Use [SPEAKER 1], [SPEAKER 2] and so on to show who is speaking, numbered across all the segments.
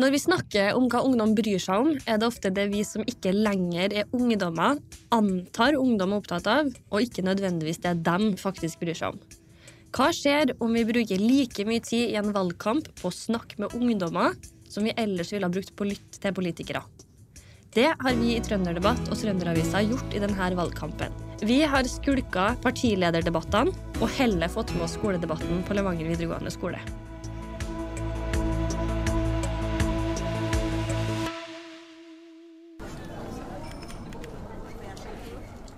[SPEAKER 1] Når vi snakker om hva ungdom bryr seg om, er det ofte det vi som ikke lenger er ungdommer, antar ungdom er opptatt av, og ikke nødvendigvis det dem faktisk bryr seg om. Hva skjer om vi bruker like mye tid i en valgkamp på å snakke med ungdommer som vi ellers ville ha brukt på å lytte til politikere? Det har vi i Trønderdebatt og Trønderavisa gjort i denne valgkampen. Vi har skulka partilederdebattene og heller fått med oss skoledebatten på Levanger videregående skole.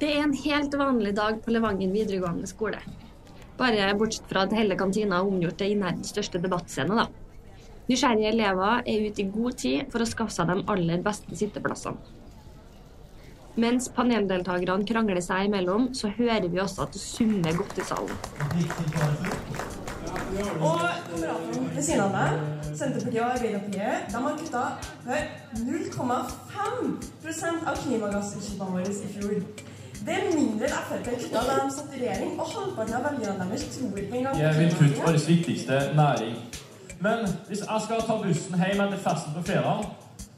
[SPEAKER 1] Det er en helt vanlig dag på Levanger videregående skole. Bare bortsett fra at hele kantina har omgjort det i nærmest største debattscene, da. Nysgjerrige elever er ute i god tid for å skaffe seg de aller beste sitteplassene. Mens paneldeltakerne krangler seg imellom, så hører vi også at det summer godt i salen.
[SPEAKER 2] Og ved siden av meg, Senterpartiet og Arbeiderpartiet, de har kutta hør, 0,5 av klimagassutslippene våre i fjor. Det er mindre enn Frp kutta da de satt i regjering, og halvparten av velgerne deres tror ikke engang
[SPEAKER 3] Jeg vil kutte vår viktigste næring. Men hvis jeg skal ta bussen hjem etter festen på fredag,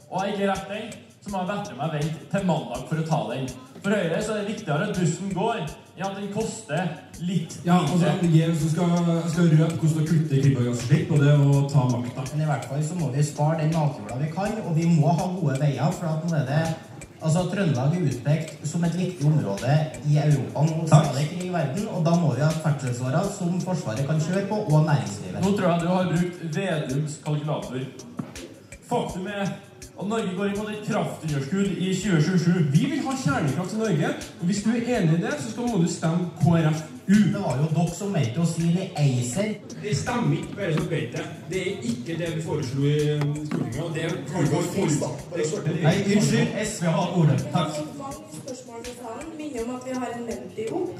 [SPEAKER 3] og jeg ikke rekker den, så må jeg vetle meg vente til mandag for å ta den. For Høyre så er det viktigere at bussen går, enn at den koster litt.
[SPEAKER 4] Ja, altså MDG som skal, skal røpe hvordan å kutte klimagassutslipp, og det er å ta makta.
[SPEAKER 5] Men i hvert fall så må vi spare den matjorda vi kan, og vi må ha gode veier. For at nå er det Altså, Trøndelag er utpekt som et viktig område i Europa nå, stadig ikke i verden. Og da må vi ha ferdselsårer som Forsvaret kan kjøre på, og næringslivet.
[SPEAKER 3] Nå tror jeg du har brukt Vedums kalkulator. Faktum er at Norge går imot et kraftunderskudd i 2027.
[SPEAKER 6] Vi vil ha kjernekraft i Norge, og hvis du er enig i det, så skal må du stemme KrFU.
[SPEAKER 5] Det var jo dere som meldte oss inn i ACER.
[SPEAKER 6] Det stemmer ikke, bare så vet det. Det er ikke det vi foreslo i um, Stortinget, og det kan gå
[SPEAKER 4] Nei, unnskyld, SV har ordet. Takk.
[SPEAKER 2] Spørsmål fra salen minner om at vi har en Wendy opp.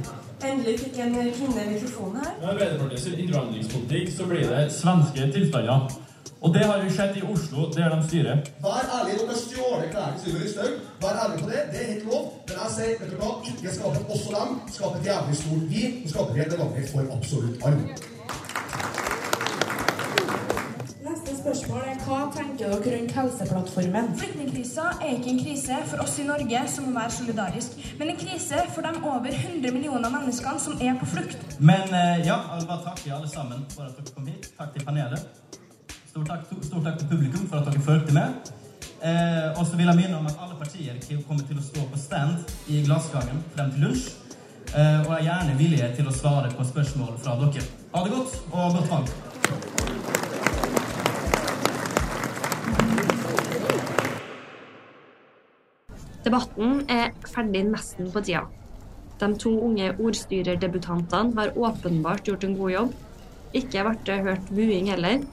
[SPEAKER 2] Endelig fikk en kvinne mikrofonen her.
[SPEAKER 3] Med Arbeiderpartiets innvandringspolitikk så blir det svenske tilstander. Og det har vi sett i Oslo, der de styrer.
[SPEAKER 7] Vær ærlig, dere stjåler klærne til Sylvi Listhaug. Vær ærlig på det. Det er helt lov. Men jeg sier, vet dere hva, ikke skap et oss og dem. Skap et jævlig stort vi. Og skaper vi et Levanger for absolutt alle.
[SPEAKER 2] Neste spørsmål er hva tenker dere rundt helseplattformen?
[SPEAKER 8] Flyktningkrisa er ikke en krise for oss i Norge som må være solidarisk, men en krise for de over 100 millioner menneskene som er på flukt.
[SPEAKER 9] Men eh, ja, jeg vil bare takke alle sammen for at dere kom hit. Takk til panelet. Stor takk, to- stor takk til publikum for at dere fulgte med. Eh, og så vil jeg minne om at alle partier ki- kommer til å stå på stand i Glassgangen frem til lunsj. Eh, og er gjerne villige til å svare på spørsmål fra dere. Ha det godt, og godt valg.
[SPEAKER 1] Debatten er ferdig nesten på tida. De to unge ordstyrerdebutantene har åpenbart gjort en god jobb. Ikke ble det hørt buing heller.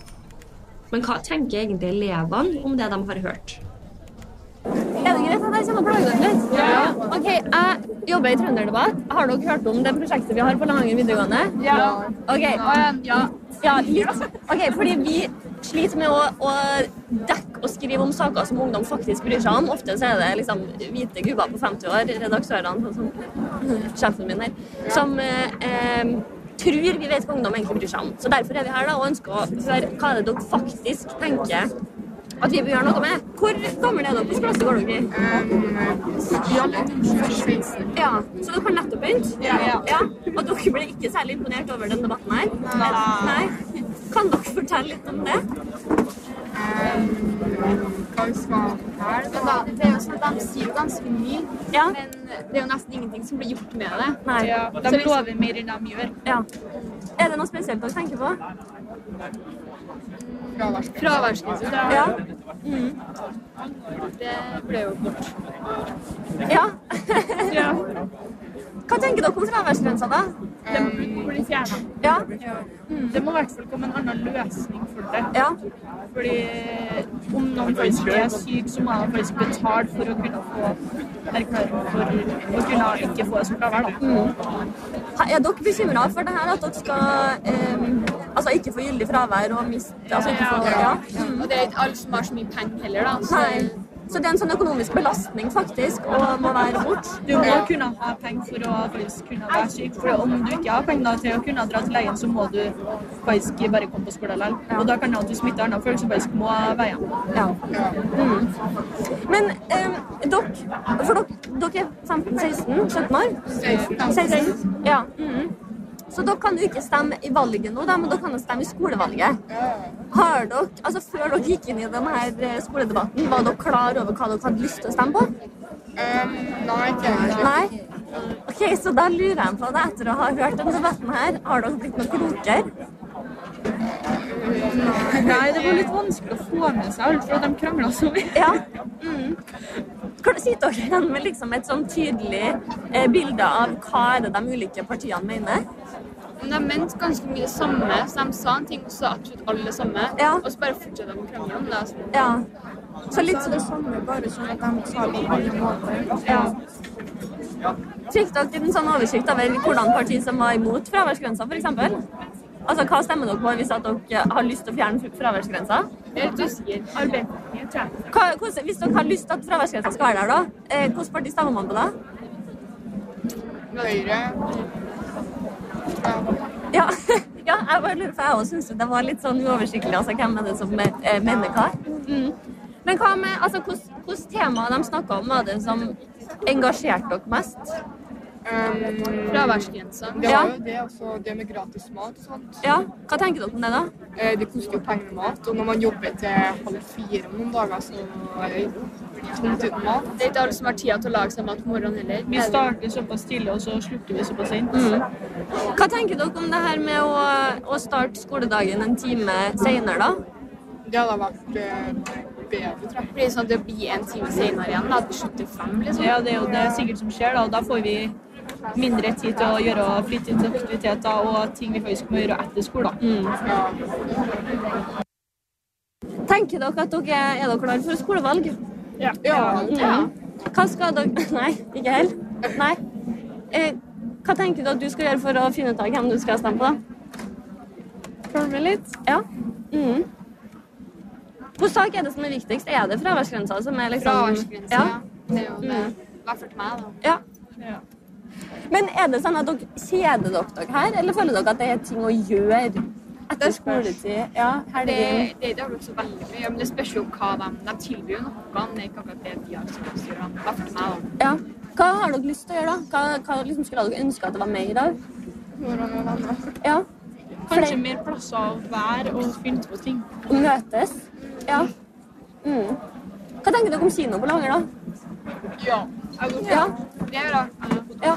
[SPEAKER 1] Men hva tenker egentlig elevene om det de har hørt? Er det greit at jeg kommer og plager dere litt? Ja. Ok, Jeg jobber i Trønderdebatt. Har dere hørt om det prosjektet vi har på Levanger videregående? Ja. Ok, ja. litt. Ok, fordi vi sliter med å, å dekke og skrive om saker som ungdom faktisk bryr seg om. Ofte så er det liksom hvite gubber på 50 år, redaktørene, sånn som sjefen min her, som eh, eh, tror vi vet hva ungdom egentlig bryr seg om. Så derfor er vi her da, og ønsker å høre hva er det dere faktisk tenker at vi bør gjøre noe med. Hvor gammel er dere? Hvilken klasse går dere i? Eh, Ja, Så dere har nettopp begynt? Ja. Og dere ble ikke særlig imponert over den debatten her? Nei. Kan dere fortelle litt om det?
[SPEAKER 10] Det er jo sånn at De sier jo ganske mye,
[SPEAKER 1] Ja.
[SPEAKER 10] men det er jo nesten ingenting som blir gjort med det.
[SPEAKER 1] Nei.
[SPEAKER 10] De lover mer enn de gjør.
[SPEAKER 1] Ja. Er det noe spesielt dere tenker på?
[SPEAKER 10] Fraværsgrense
[SPEAKER 1] Ja. Mm.
[SPEAKER 10] det ble jo bort.
[SPEAKER 1] ja. Hva tenker dere om fraværsgrensa, da?
[SPEAKER 10] Det Ehm, blir fjerna.
[SPEAKER 1] Ja.
[SPEAKER 10] Det må i hvert fall komme en annen løsning for det.
[SPEAKER 1] ja.
[SPEAKER 10] Fordi om noen faktisk er syk, så må de faktisk betale for å kunne få erklæring for å kunne ikke få det som fravær. da.
[SPEAKER 1] Er dere bekymra for det her, at dere skal em, altså ikke få gyldig fravær og miste altså ikke få, ja.
[SPEAKER 10] Og det er ikke alle som har så mye penger heller, da.
[SPEAKER 1] Nei.
[SPEAKER 10] Så
[SPEAKER 11] Så det er en sånn økonomisk belastning faktisk å må være borte.
[SPEAKER 10] Du må kunne ha penger for å faktisk kunne være syk. For om du ikke har penger til å kunne dra til legen, så må du faktisk bare komme på skolen likevel. Og da kan det hende du smitter andre folk som faktisk må veie.
[SPEAKER 11] Ja. Mm. Men eh, dere, for dere, dere er 15-16-17 år?
[SPEAKER 10] 16.
[SPEAKER 11] 16. Ja. mhm. Så dere kan jo ikke stemme i valget nå, da, men dere kan jo stemme i skolevalget. Har dere, altså Før dere gikk inn i denne her eh, skoledebatten, var dere klar over hva dere hadde lyst til å stemme på?
[SPEAKER 12] nei, ikke egentlig.
[SPEAKER 11] Nei? Ok, Så da lurer jeg på det etter å ha hørt denne debatten her. Har dere blitt noe klokere?
[SPEAKER 10] Nei, det var litt vanskelig å få med seg alt, for de krangla så mye.
[SPEAKER 11] Ja. Mm. Hvordan sitter dere igjen med liksom et sånn tydelig eh, bilde av hva er det de ulike partiene mener?
[SPEAKER 12] Men de mente ganske mye samme, så de sa en ting, og så sa absolutt alle samme. Og så bare fortsatte de å krangle om det. altså.
[SPEAKER 11] Så litt
[SPEAKER 12] Så
[SPEAKER 11] det samme, bare sånn at de sa det på alle måter. Ja. Fikk dere en sånn oversikt over hvordan partier som var imot fraværsgrensa, f.eks.? Altså, hva stemmer dere på hvis at dere har lyst til å fjerne fraværsgrensa?
[SPEAKER 12] Jeg er litt usikker. Arbeiderpartiet, tror jeg.
[SPEAKER 11] Hva, hvordan, hvis dere har lyst til at fraværsgrensa skal være der, da, eh, hvilket parti stemmer man på da?
[SPEAKER 12] Høyre.
[SPEAKER 11] Ja, ja jeg bare lurer på, jeg også synes det var litt sånn uoversiktlig, altså hvem er det som eh, mener hva? Mm. Men hva med, altså, hvilke temaer de snakket om var det som engasjerte dere mest? Ehm,
[SPEAKER 12] Fraværsgrensa.
[SPEAKER 11] Det var jo
[SPEAKER 12] det, også det med gratis mat og sånt.
[SPEAKER 11] Ja, hva tenker dere om det da?
[SPEAKER 12] Det Eh, koster jo penger med mat, og når man jobber til halv fire om noen dager, så er det tomt uten mat. Det er ikke alle som har tid til å lage seg mat på morgenen heller.
[SPEAKER 10] Vi starter såpass tidlig, og så slutter vi såpass sent.
[SPEAKER 11] Hva tenker dere om det her med å, å starte skoledagen en time senere da?
[SPEAKER 12] Det hadde vært eh, bedre, tror jeg. Fordi sånn at det blir en time senere igjen, da. Det slutter fem, liksom.
[SPEAKER 10] Ja, det er jo det sikkert som skjer, da. og Da får vi mindre tid til å gjøre fritidsaktiviteter og ting vi faktisk må gjøre etter skolen.
[SPEAKER 12] Mm.
[SPEAKER 11] Tenker dere at dere er dere klare for skolevalg? Ja.
[SPEAKER 12] Ja.
[SPEAKER 11] Hva skal dere Nei, ikke helt. Nei. Eh, hva tenker du at du skal gjøre for å finne ut av hvem du skal stemme på, da? Følge med litt. Ja. Mhm. Hvilken sak er det som er viktigst? Er det fraværsgrensa som er liksom
[SPEAKER 12] Fraværsgrensa, ja. Det er jo det.
[SPEAKER 11] Mm.
[SPEAKER 12] I hvert fall til meg, da.
[SPEAKER 11] Ja. Men er det sånn at dere kjeder dere dere her, eller føler dere at det er ting å gjøre etter skoletid? Ja,
[SPEAKER 12] Det,
[SPEAKER 11] helgen.
[SPEAKER 12] det, det har vi også veldig mye, men det spørs jo hva de, de tilbyr jo noe, men det er ikke akkurat det de har som styrer dem. I hvert fall til meg, da.
[SPEAKER 11] Ja. Hva har dere lyst til å gjøre, da? Hva, hva liksom skulle dere ønske at det var mer av? Ja.
[SPEAKER 10] Kanskje mer plasser å være og finne på ting.
[SPEAKER 11] Å møtes. Ja. Mm. Hva tenker dere om kino på Langer, da?
[SPEAKER 12] Ja. Jeg går
[SPEAKER 11] Ja.
[SPEAKER 12] Det er bra.
[SPEAKER 11] Ja.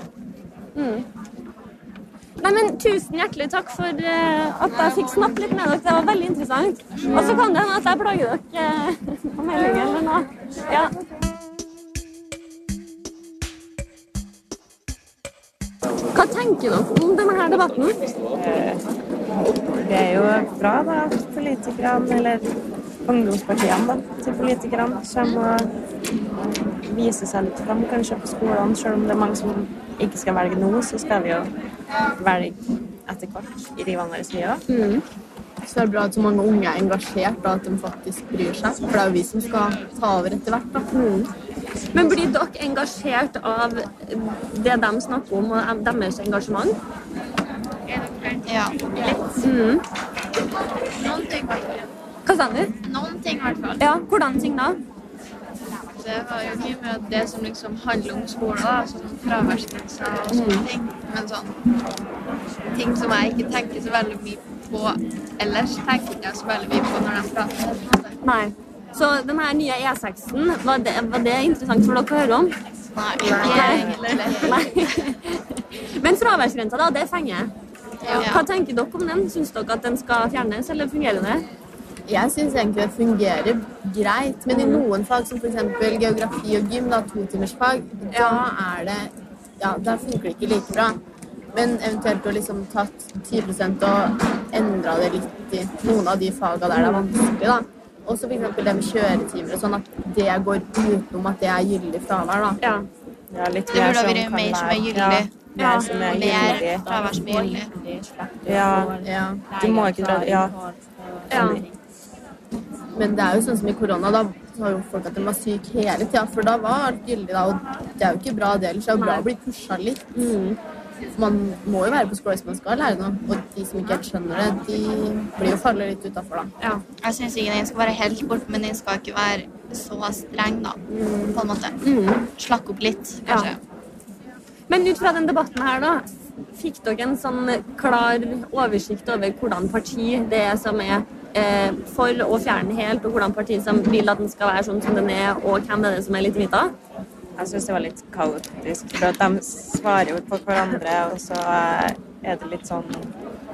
[SPEAKER 11] Mm. Nei, men Tusen hjertelig takk for eh, at jeg fikk snakke litt med dere. Det var veldig interessant. Og så kan det hende at jeg plager dere eh, på melding eller noe. Ja. Hva tenker dere om denne her debatten?
[SPEAKER 13] Det er jo bra da, at politikerne, eller ungdomspartiene da, til politikerne, kommer og viser seg litt fram kanskje på skolene. Selv om det er mange som ikke skal velge nå, så skal vi jo velge etter hvert i livene våre nye. da.
[SPEAKER 12] Mm.
[SPEAKER 14] Så det er bra at så mange unge er engasjert, og at de faktisk bryr seg. For det er jo vi som skal ta over etter hvert. Da.
[SPEAKER 15] Mm.
[SPEAKER 11] Men blir dere engasjert av det de snakker om, og deres engasjement?
[SPEAKER 15] Ja.
[SPEAKER 11] Mm.
[SPEAKER 15] Noen ting, i hvert fall.
[SPEAKER 11] Hva sa du?
[SPEAKER 15] Noen ting, i hvert fall.
[SPEAKER 11] Ja, hvordan ting da?
[SPEAKER 15] Det var jo mye med det som liksom handler om skole, da, sånn fraværsgrenser og sånne
[SPEAKER 11] Mm.
[SPEAKER 15] ting. Men sånn ting som jeg ikke tenker så veldig mye på ellers, tenker ikke jeg så veldig mye på når de prater.
[SPEAKER 11] Nei. Så den her nye E6-en, var det, var det interessant for dere å høre om?
[SPEAKER 15] Nei,
[SPEAKER 11] Nei. Men fraværsgrensa, da, det fenger.
[SPEAKER 14] Ja.
[SPEAKER 11] Hva tenker dere om den? Syns dere at den skal fjernes, eller fungerer det?
[SPEAKER 14] Jeg syns egentlig det fungerer greit, men i noen fag, som f.eks. geografi og gym, da, totimersfag, da er det Ja, der funker det ikke like bra. Men eventuelt å liksom tatt 10 og endra det litt i noen av de faga der det er vanskelig, da. Også f.eks. det med kjøretimer og sånn, at det går utenom at det er gyldig fravær, da.
[SPEAKER 13] Ja, litt
[SPEAKER 15] Det
[SPEAKER 13] mer
[SPEAKER 15] burde
[SPEAKER 13] som
[SPEAKER 15] vært
[SPEAKER 13] sånn kan
[SPEAKER 15] mer som er
[SPEAKER 13] være-
[SPEAKER 15] gyldig.
[SPEAKER 13] Ja, mer som er gyldig.
[SPEAKER 15] Mer fravær som er gyldig.
[SPEAKER 13] Ja, du må ikke dra Ja.
[SPEAKER 11] Ja. Men det er jo sånn som i korona, da sa jo folk at de var syke hele tida, for da var alt gyldig, da. Og det er jo ikke bra det ellers. Det er jo bra å bli pusha litt. For Man må jo være på skole hvis man skal lære noe. Og de som ikke helt skjønner det, de blir jo farlig litt utafor, da.
[SPEAKER 16] Ja. Jeg syns ikke den skal være helt bort, men den skal ikke være så streng, da. På en måte. Slakke opp litt, kanskje.
[SPEAKER 1] Men ut fra den debatten her, da, fikk dere en sånn klar oversikt over hvordan parti det er som er eh, for å fjerne helt, og hvordan parti som vil at den skal være sånn som den er, og hvem det er som er litt hvita?
[SPEAKER 13] Jeg syns det var litt kaotisk, for at de svarer jo på hverandre, og så eh, er det litt sånn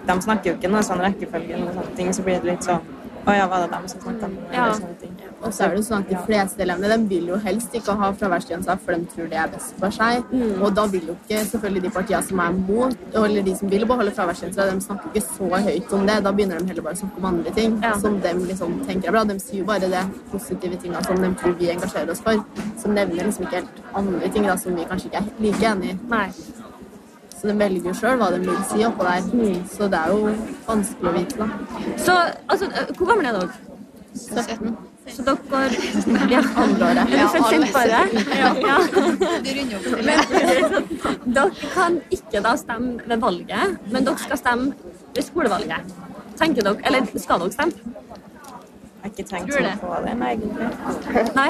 [SPEAKER 13] De snakker jo ikke noe sånn rekkefølge eller sånne ting, så blir det litt sånn Å ja, var det dem som snakka?
[SPEAKER 11] Ja.
[SPEAKER 13] Eller sånne ting.
[SPEAKER 11] Og så er det jo sånn at de
[SPEAKER 13] Ja.
[SPEAKER 11] fleste elevene de vil jo helst ikke ha fraværsgrensa, for de tror det er best for seg. Og da vil jo ikke selvfølgelig de partiene som er mot, eller de som vil beholde fraværsgrensa, de snakker ikke så høyt om det. Da begynner de heller bare å snakke om andre ting som de liksom tenker er bra. De sier jo bare de positive tinga som de tror vi engasjerer oss for. Så nevner liksom ikke helt andre ting da, som vi kanskje ikke er like enig i. Så de velger jo sjøl hva de vil si oppå der. Så det er jo vanskelig å vite, da.
[SPEAKER 1] Så altså, eh, hvor gamle er dere?
[SPEAKER 11] 17.
[SPEAKER 1] Så dere ja. Andreåret.
[SPEAKER 11] Ja,
[SPEAKER 1] Ja,
[SPEAKER 11] alle
[SPEAKER 1] ja, ja.
[SPEAKER 17] De runder opp til det.
[SPEAKER 1] Men dere kan ikke da stemme ved valget, men dere skal stemme ved skolevalget. Tenker dere, eller skal dere stemme?
[SPEAKER 13] Jeg har ikke tenkt
[SPEAKER 1] Tror
[SPEAKER 13] sånn
[SPEAKER 1] det.
[SPEAKER 13] på det, nei, egentlig.
[SPEAKER 1] Nei?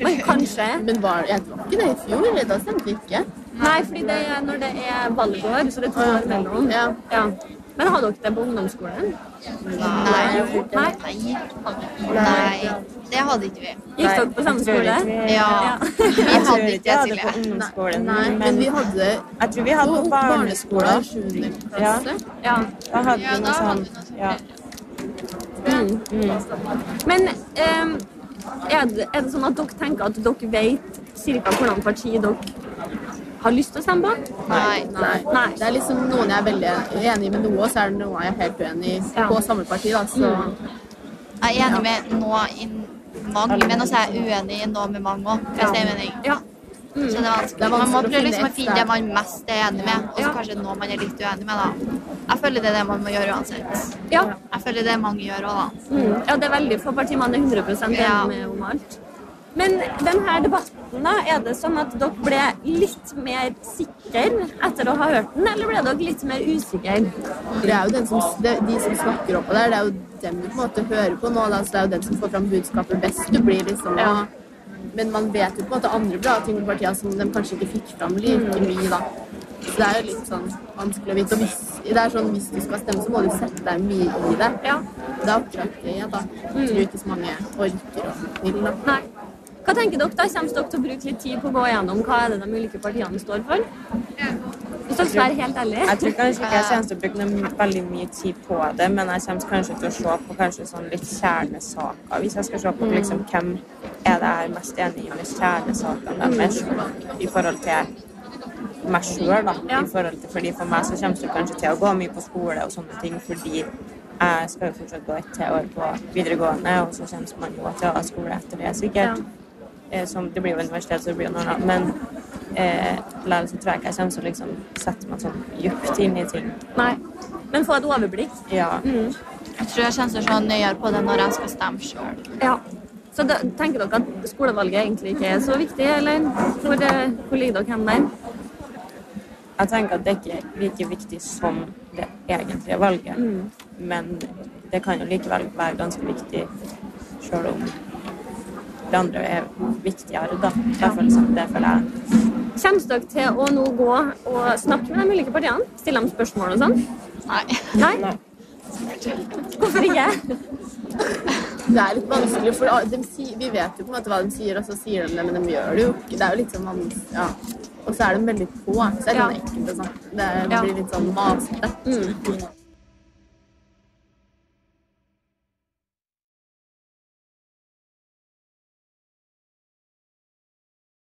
[SPEAKER 1] Men kanskje?
[SPEAKER 11] Men var, jeg var ikke det i fjor, eller? da stemte vi ikke.
[SPEAKER 1] Nei, fordi det er når det er valgår, så det er to år mellom.
[SPEAKER 11] Ja.
[SPEAKER 1] Ja. Men har dere det på ungdomsskolen?
[SPEAKER 16] Nei.
[SPEAKER 1] Nei.
[SPEAKER 16] Nei, det hadde ikke vi.
[SPEAKER 1] Gikk dere på samme skole?
[SPEAKER 16] Ja. Vi
[SPEAKER 13] Jeg tror
[SPEAKER 16] hadde
[SPEAKER 13] ikke
[SPEAKER 16] ikke det,
[SPEAKER 13] jeg hadde på
[SPEAKER 16] Silje.
[SPEAKER 13] ungdomsskolen,
[SPEAKER 11] Nei, men vi hadde
[SPEAKER 13] Jeg tror vi hadde på barneskolen.
[SPEAKER 11] Sjuende
[SPEAKER 13] Ja.
[SPEAKER 11] klasse.
[SPEAKER 1] Ja.
[SPEAKER 13] Da hadde vi noe sånn ja.
[SPEAKER 1] Men ehm, er, det, er det sånn at dere tenker at dere vet cirka hvordan parti dere har lyst til å stemme på?
[SPEAKER 11] Nei, nei. Det er liksom noen jeg er veldig enig med noe, og så er det noen jeg er helt uenig i på samme parti, da. Så
[SPEAKER 16] Mm. Jeg er enig med nå i mange, men også er jeg uenig i nå med mange òg, hvis det er mening. Så det er
[SPEAKER 11] Det
[SPEAKER 16] vanskelig.
[SPEAKER 11] er vanskelig
[SPEAKER 16] Man må
[SPEAKER 11] å
[SPEAKER 16] prøve
[SPEAKER 11] finne
[SPEAKER 16] liksom å
[SPEAKER 11] et
[SPEAKER 16] finne
[SPEAKER 11] der.
[SPEAKER 16] det man mest er enig med, og så kanskje noe man er litt uenig med, da. Jeg føler det er det man må gjøre uansett. Jeg føler det mange gjør òg, da.
[SPEAKER 1] Mm. Ja, det er veldig få partier man er 100 enig
[SPEAKER 16] Ja.
[SPEAKER 1] med om alt. Men denne debatten, da, er det sånn at dere ble litt mer sikre etter å ha hørt den, eller ble dere litt mer usikre?
[SPEAKER 11] det er jo den som, det, de som snakker oppå der, det er jo dem du på en måte hører på nå, da. Så det er jo den som får fram budskapet best. Du blir liksom
[SPEAKER 1] Ja.
[SPEAKER 11] Men man vet jo på en måte andre bra ting med partiene som de kanskje ikke fikk fram
[SPEAKER 1] Mm.
[SPEAKER 11] like mye, da. Så det er jo litt sånn vanskelig å vite. Og hvis, det er sånn, hvis du skal stemme, så må du sette deg mye i det. Det er akkurat det, da. Jeg tror ikke så mange orker å vil, da.
[SPEAKER 1] Nei. Hva tenker dere da? Kommer dere til å bruke litt tid på å gå gjennom hva er det de ulike partiene står for? Hvis dere skal være helt ærlige.
[SPEAKER 13] Jeg tror kanskje ikke jeg kommer til å bruke noe veldig mye tid på det, men jeg kommer kanskje til å se på kanskje sånn litt kjernesaker, hvis jeg skal se på liksom, hvem er det jeg er mest enig i med kjernesakene deres i forhold til meg sjøl, da. I forhold til, fordi for meg så kommer det kanskje til å gå mye på skole og sånne ting, fordi jeg skal jo fortsatt gå et til år på videregående, og så kommer man jo til å ha skole etter det, sikkert. Eh, Som, det blir jo universitet, så det blir jo noe annet. Men eh, likevel så tror jeg ikke jeg kommer til å liksom sette meg sånn dypt inn i ting.
[SPEAKER 1] Nei. Men få et overblikk. Mm.
[SPEAKER 13] Ja.
[SPEAKER 16] Jeg tror jeg kommer til å se nøyere på det når jeg skal stemme sjøl.
[SPEAKER 1] Ja. Så da, tenker dere at skolevalget egentlig ikke er så viktig, eller hvor, eh, hvor ligger dere hen der?
[SPEAKER 13] Jeg tenker at det ikke er like viktig som det egentlige valget.
[SPEAKER 1] Mm.
[SPEAKER 13] Men det kan jo likevel være ganske viktig, sjøl om det andre er viktigere, da. I hvert fall sånn det føler jeg.
[SPEAKER 1] Kommer dere til å nå gå og snakke med de ulike partiene? Stille dem spørsmål og sånn?
[SPEAKER 16] Nei.
[SPEAKER 1] Nei? Hvorfor ikke?
[SPEAKER 11] Det er litt vanskelig, for de sier, vi vet jo på en måte hva de sier, og så sier de det, men de gjør det jo ikke. Det er jo litt sånn vanskelig, ja. Og så er de veldig på, så det er
[SPEAKER 1] Ja.
[SPEAKER 11] sånn ekkelt å snakke. Det
[SPEAKER 1] Ja.
[SPEAKER 11] blir litt sånn masete.